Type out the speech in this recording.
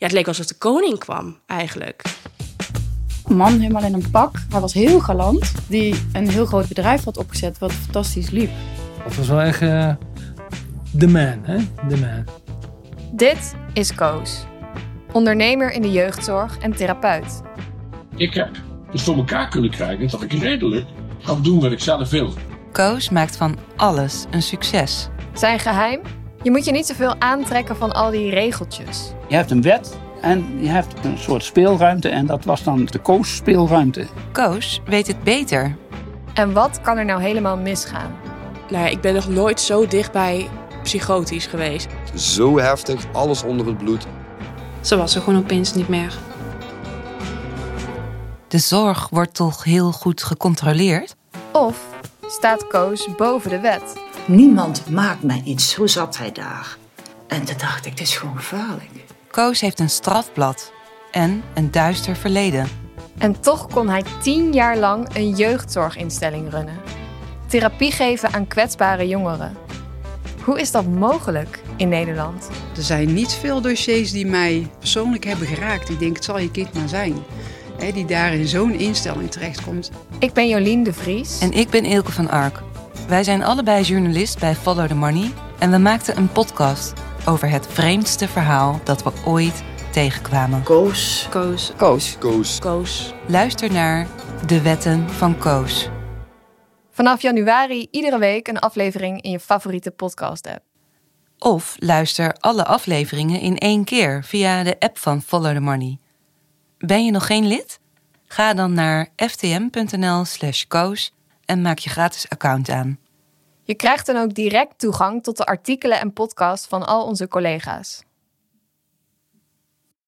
Ja, het leek alsof de koning kwam, eigenlijk. Een man helemaal in een pak. Hij was heel galant. Die een heel groot bedrijf had opgezet wat fantastisch liep. Dat was wel echt eh, de man, hè? De man. Dit is Koos, ondernemer in de jeugdzorg en therapeut. Ik heb dus voor elkaar kunnen krijgen dat ik redelijk kan doen wat ik zelf wil. Koos maakt van alles een succes. Zijn geheim? Je moet je niet zoveel aantrekken van al die regeltjes. Je hebt een wet en je hebt een soort speelruimte. En dat was dan de koos speelruimte. Koos weet het beter. En wat kan er nou helemaal misgaan? Nou ja, ik ben nog nooit zo dichtbij psychotisch geweest. Zo heftig, alles onder het bloed. Ze was er gewoon opeens niet meer. De zorg wordt toch heel goed gecontroleerd? Of staat Koos boven de wet? Niemand maakt mij iets. Hoe zat hij daar? En toen dacht ik, dit is gewoon gevaarlijk. Koos heeft een strafblad en een duister verleden. En toch kon hij tien jaar lang een jeugdzorginstelling runnen. Therapie geven aan kwetsbare jongeren. Hoe is dat mogelijk in Nederland? Er zijn niet veel dossiers die mij persoonlijk hebben geraakt. Ik denk, het zal je kind maar zijn. Hè, die daar in zo'n instelling terechtkomt. Ik ben Jolien de Vries. En ik ben Ilke van Ark. Wij zijn allebei journalist bij Follow the Money en we maakten een podcast over het vreemdste verhaal dat we ooit tegenkwamen. Koos Koos. Koos. Koos. Koos. Luister naar De Wetten van Koos. Vanaf januari iedere week een aflevering in je favoriete podcast-app. Of luister alle afleveringen in één keer via de app van Follow the Money. Ben je nog geen lid? Ga dan naar ftm.nl/slash koos en maak je gratis account aan. Je krijgt dan ook direct toegang tot de artikelen en podcasts van al onze collega's.